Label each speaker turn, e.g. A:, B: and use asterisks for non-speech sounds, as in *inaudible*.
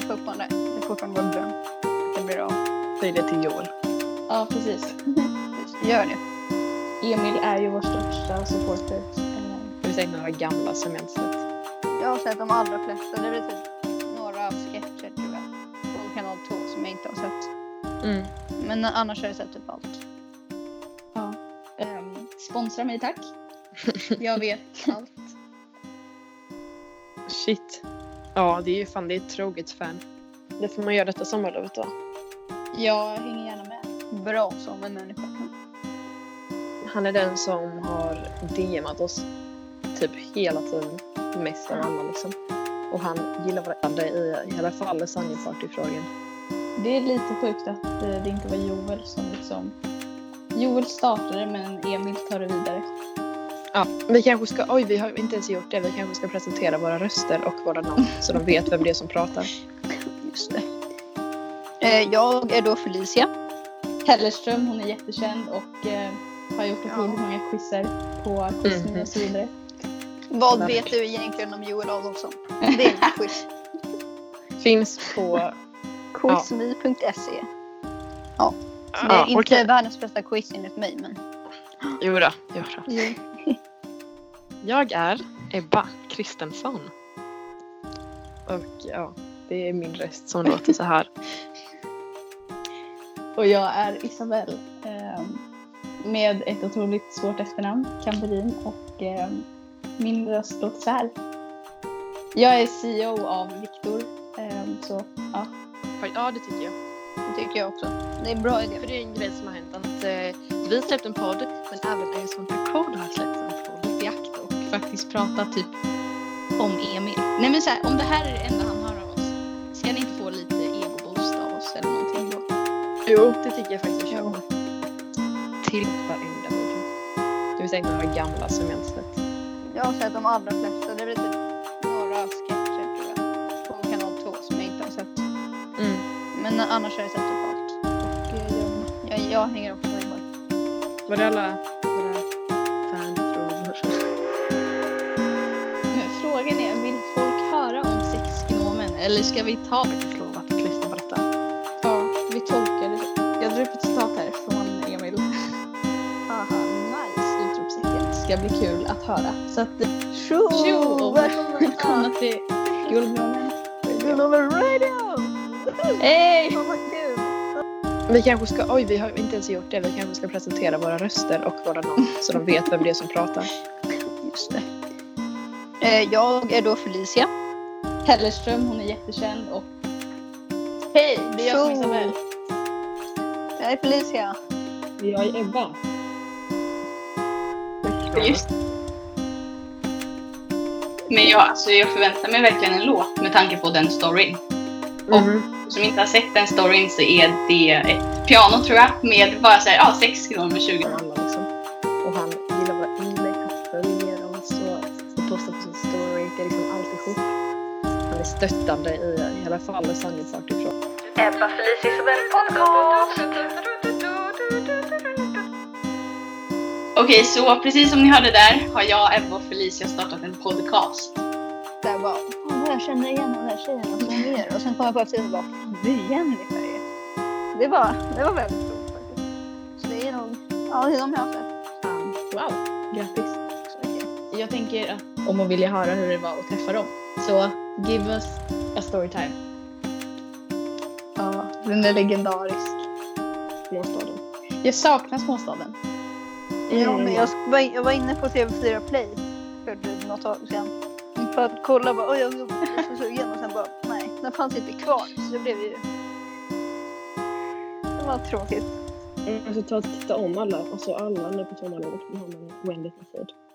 A: fortfarande. Det är fortfarande vår dröm. att Det blir av.
B: Säg det till Joel.
A: Ja, precis. *laughs* Gör det. Emil är ju vår största supporter.
B: Det är säkert några gamla som jag inte sett.
A: Jag har sett de allra flesta. Det är typ några sketcher tror jag. På kanal 2 som jag inte har sett.
B: Mm.
A: Men annars har jag sett typ allt.
B: Ja.
A: Ehm, sponsra mig *laughs* tack. Jag vet allt.
B: Shit. Ja, det är ju fan, det är ett troget fan. Det får man göra detta sommarlovet då.
A: Jag hänger gärna med. Bra som en människa kan.
B: Han är den som har DMat oss typ hela tiden. Mest av alla liksom. Och han gillar varandra i, i alla fall sangepartyfrågan.
C: Det är lite sjukt att eh, det inte var Joel som liksom... Joel startade men Emil tar det vidare.
B: Ja, vi kanske ska, oj vi har inte ens gjort det, vi kanske ska presentera våra röster och våra namn så de vet vem det är som pratar.
A: Just det. Eh, jag är då Felicia.
C: Hellerström, hon är jättekänd och eh, har gjort otroligt många quizzer på Quizmy
B: Mhm.
C: och så vidare.
A: Vad
B: Tack.
A: vet du egentligen om
C: *laughs*
A: Joel Adolfsson? Det är ett quiz.
B: Finns på...
A: Quizme.se. Det E. är
B: Ja,
A: inte
B: okej.
A: världens bästa quiz enligt mig men.
B: Jodå, jodå. Jag är Ebba Kristensson. Och ja, det är min röst *laughs* som låter så här.
C: Och jag är Isabel ehm, med ett otroligt svårt efternamn, Kamperin. Och ehm, min röst låter så här. Jag är CEO av Viktor. ehm, så ja,
B: Ja, det tycker jag.
A: Det tycker jag också. Det är en bra idé.
B: För det är en grej som har hänt att eh, vi släppt en podd men även Arizona Record har släppt en podd i akt och faktiskt pratat typ
A: Om Emil. Nej men så här, om det här är det enda han hör av oss. Ska ni inte få lite egoboost av oss eller någonting då?
B: Jo, det tycker jag faktiskt. Jag kör. Till varenda ord. Det vill säga några gamla som jag inte sett.
A: Jag har sett de allra flesta. Det är typ några sketcher tror jag. På kanal 2 som jag inte har sett.
B: Mm.
A: Men annars har jag sett typ allt. Och eh, jag, jag, jag hänger också med. folk.
B: Var det alla våra fanfrågor?
C: Men Frågan är, vill folk höra om sexgnomen eller ska vi ta
B: faktiskt lov att lyssna på detta.
C: Ja, vi tolkar det. Jag drar upp ett citat här från Emil. Haha, nice! Utropstecken. Ska bli kul att höra. Så att, tjo!
A: Tjo!
C: Välkomna till Guldblommon.
A: Guldblommon radio!
C: Hej!
A: Åh vad kul!
B: Vi kanske ska, oj vi har inte ens gjort det, vi kanske ska presentera våra röster och våra namn så de vet vem det är som pratar.
A: Just det. Eh, jag är då Felicia.
C: Hellerström, hon är jättekänd och... Hej! Det är jag som är
A: Tjo!
C: Isabel.
A: Jag är Felicia.
B: Jag är Ebba.
D: Men jag, alltså, jag förväntar mig verkligen en låt med tanke på den storyn.
B: Mm.
D: Som inte har sett den storyn så är det ett piano tror jag med bara såhär, ja, 6 kronor med 20
B: Och, alla, liksom. och han gillar våra inlägg, han följer dem så, så postar på sin story, det är liksom alltihop. Han är stöttande i, i alla fall sanningsartifrån.
E: Ebba, Felicia, Isabel podcast!
D: Okej, så precis som ni hörde där har jag, Ebba och Felicia startat en podcast.
A: Där bara, "Fan, vad jag känner igen den där tjejen och så mer. Och sen kom jag på eftertid och bara, fan det är Jennifer ju. Det var, det var väldigt roligt faktiskt. Så det är nog, ja det är de jag har sett.
C: Wow, grattis.
A: Så mycket.
C: Jag tänker att om man vill höra hur det var att träffa dem så give us a storytime.
A: Ja, den är legendarisk.
B: Småstaden.
C: Jag saknar småstaden.
A: Ja, men jag, sk- var, jag var inne på TV4 Play för typ något tag sedan. För att kolla bara, oj jag är så sugen och sen bara, nej den fanns inte kvar. Så det blev ju... Det var tråkigt.
B: Mm, alltså ta och titta om alla, alltså alla nu på sommarlovet. Någon Wendy Frid.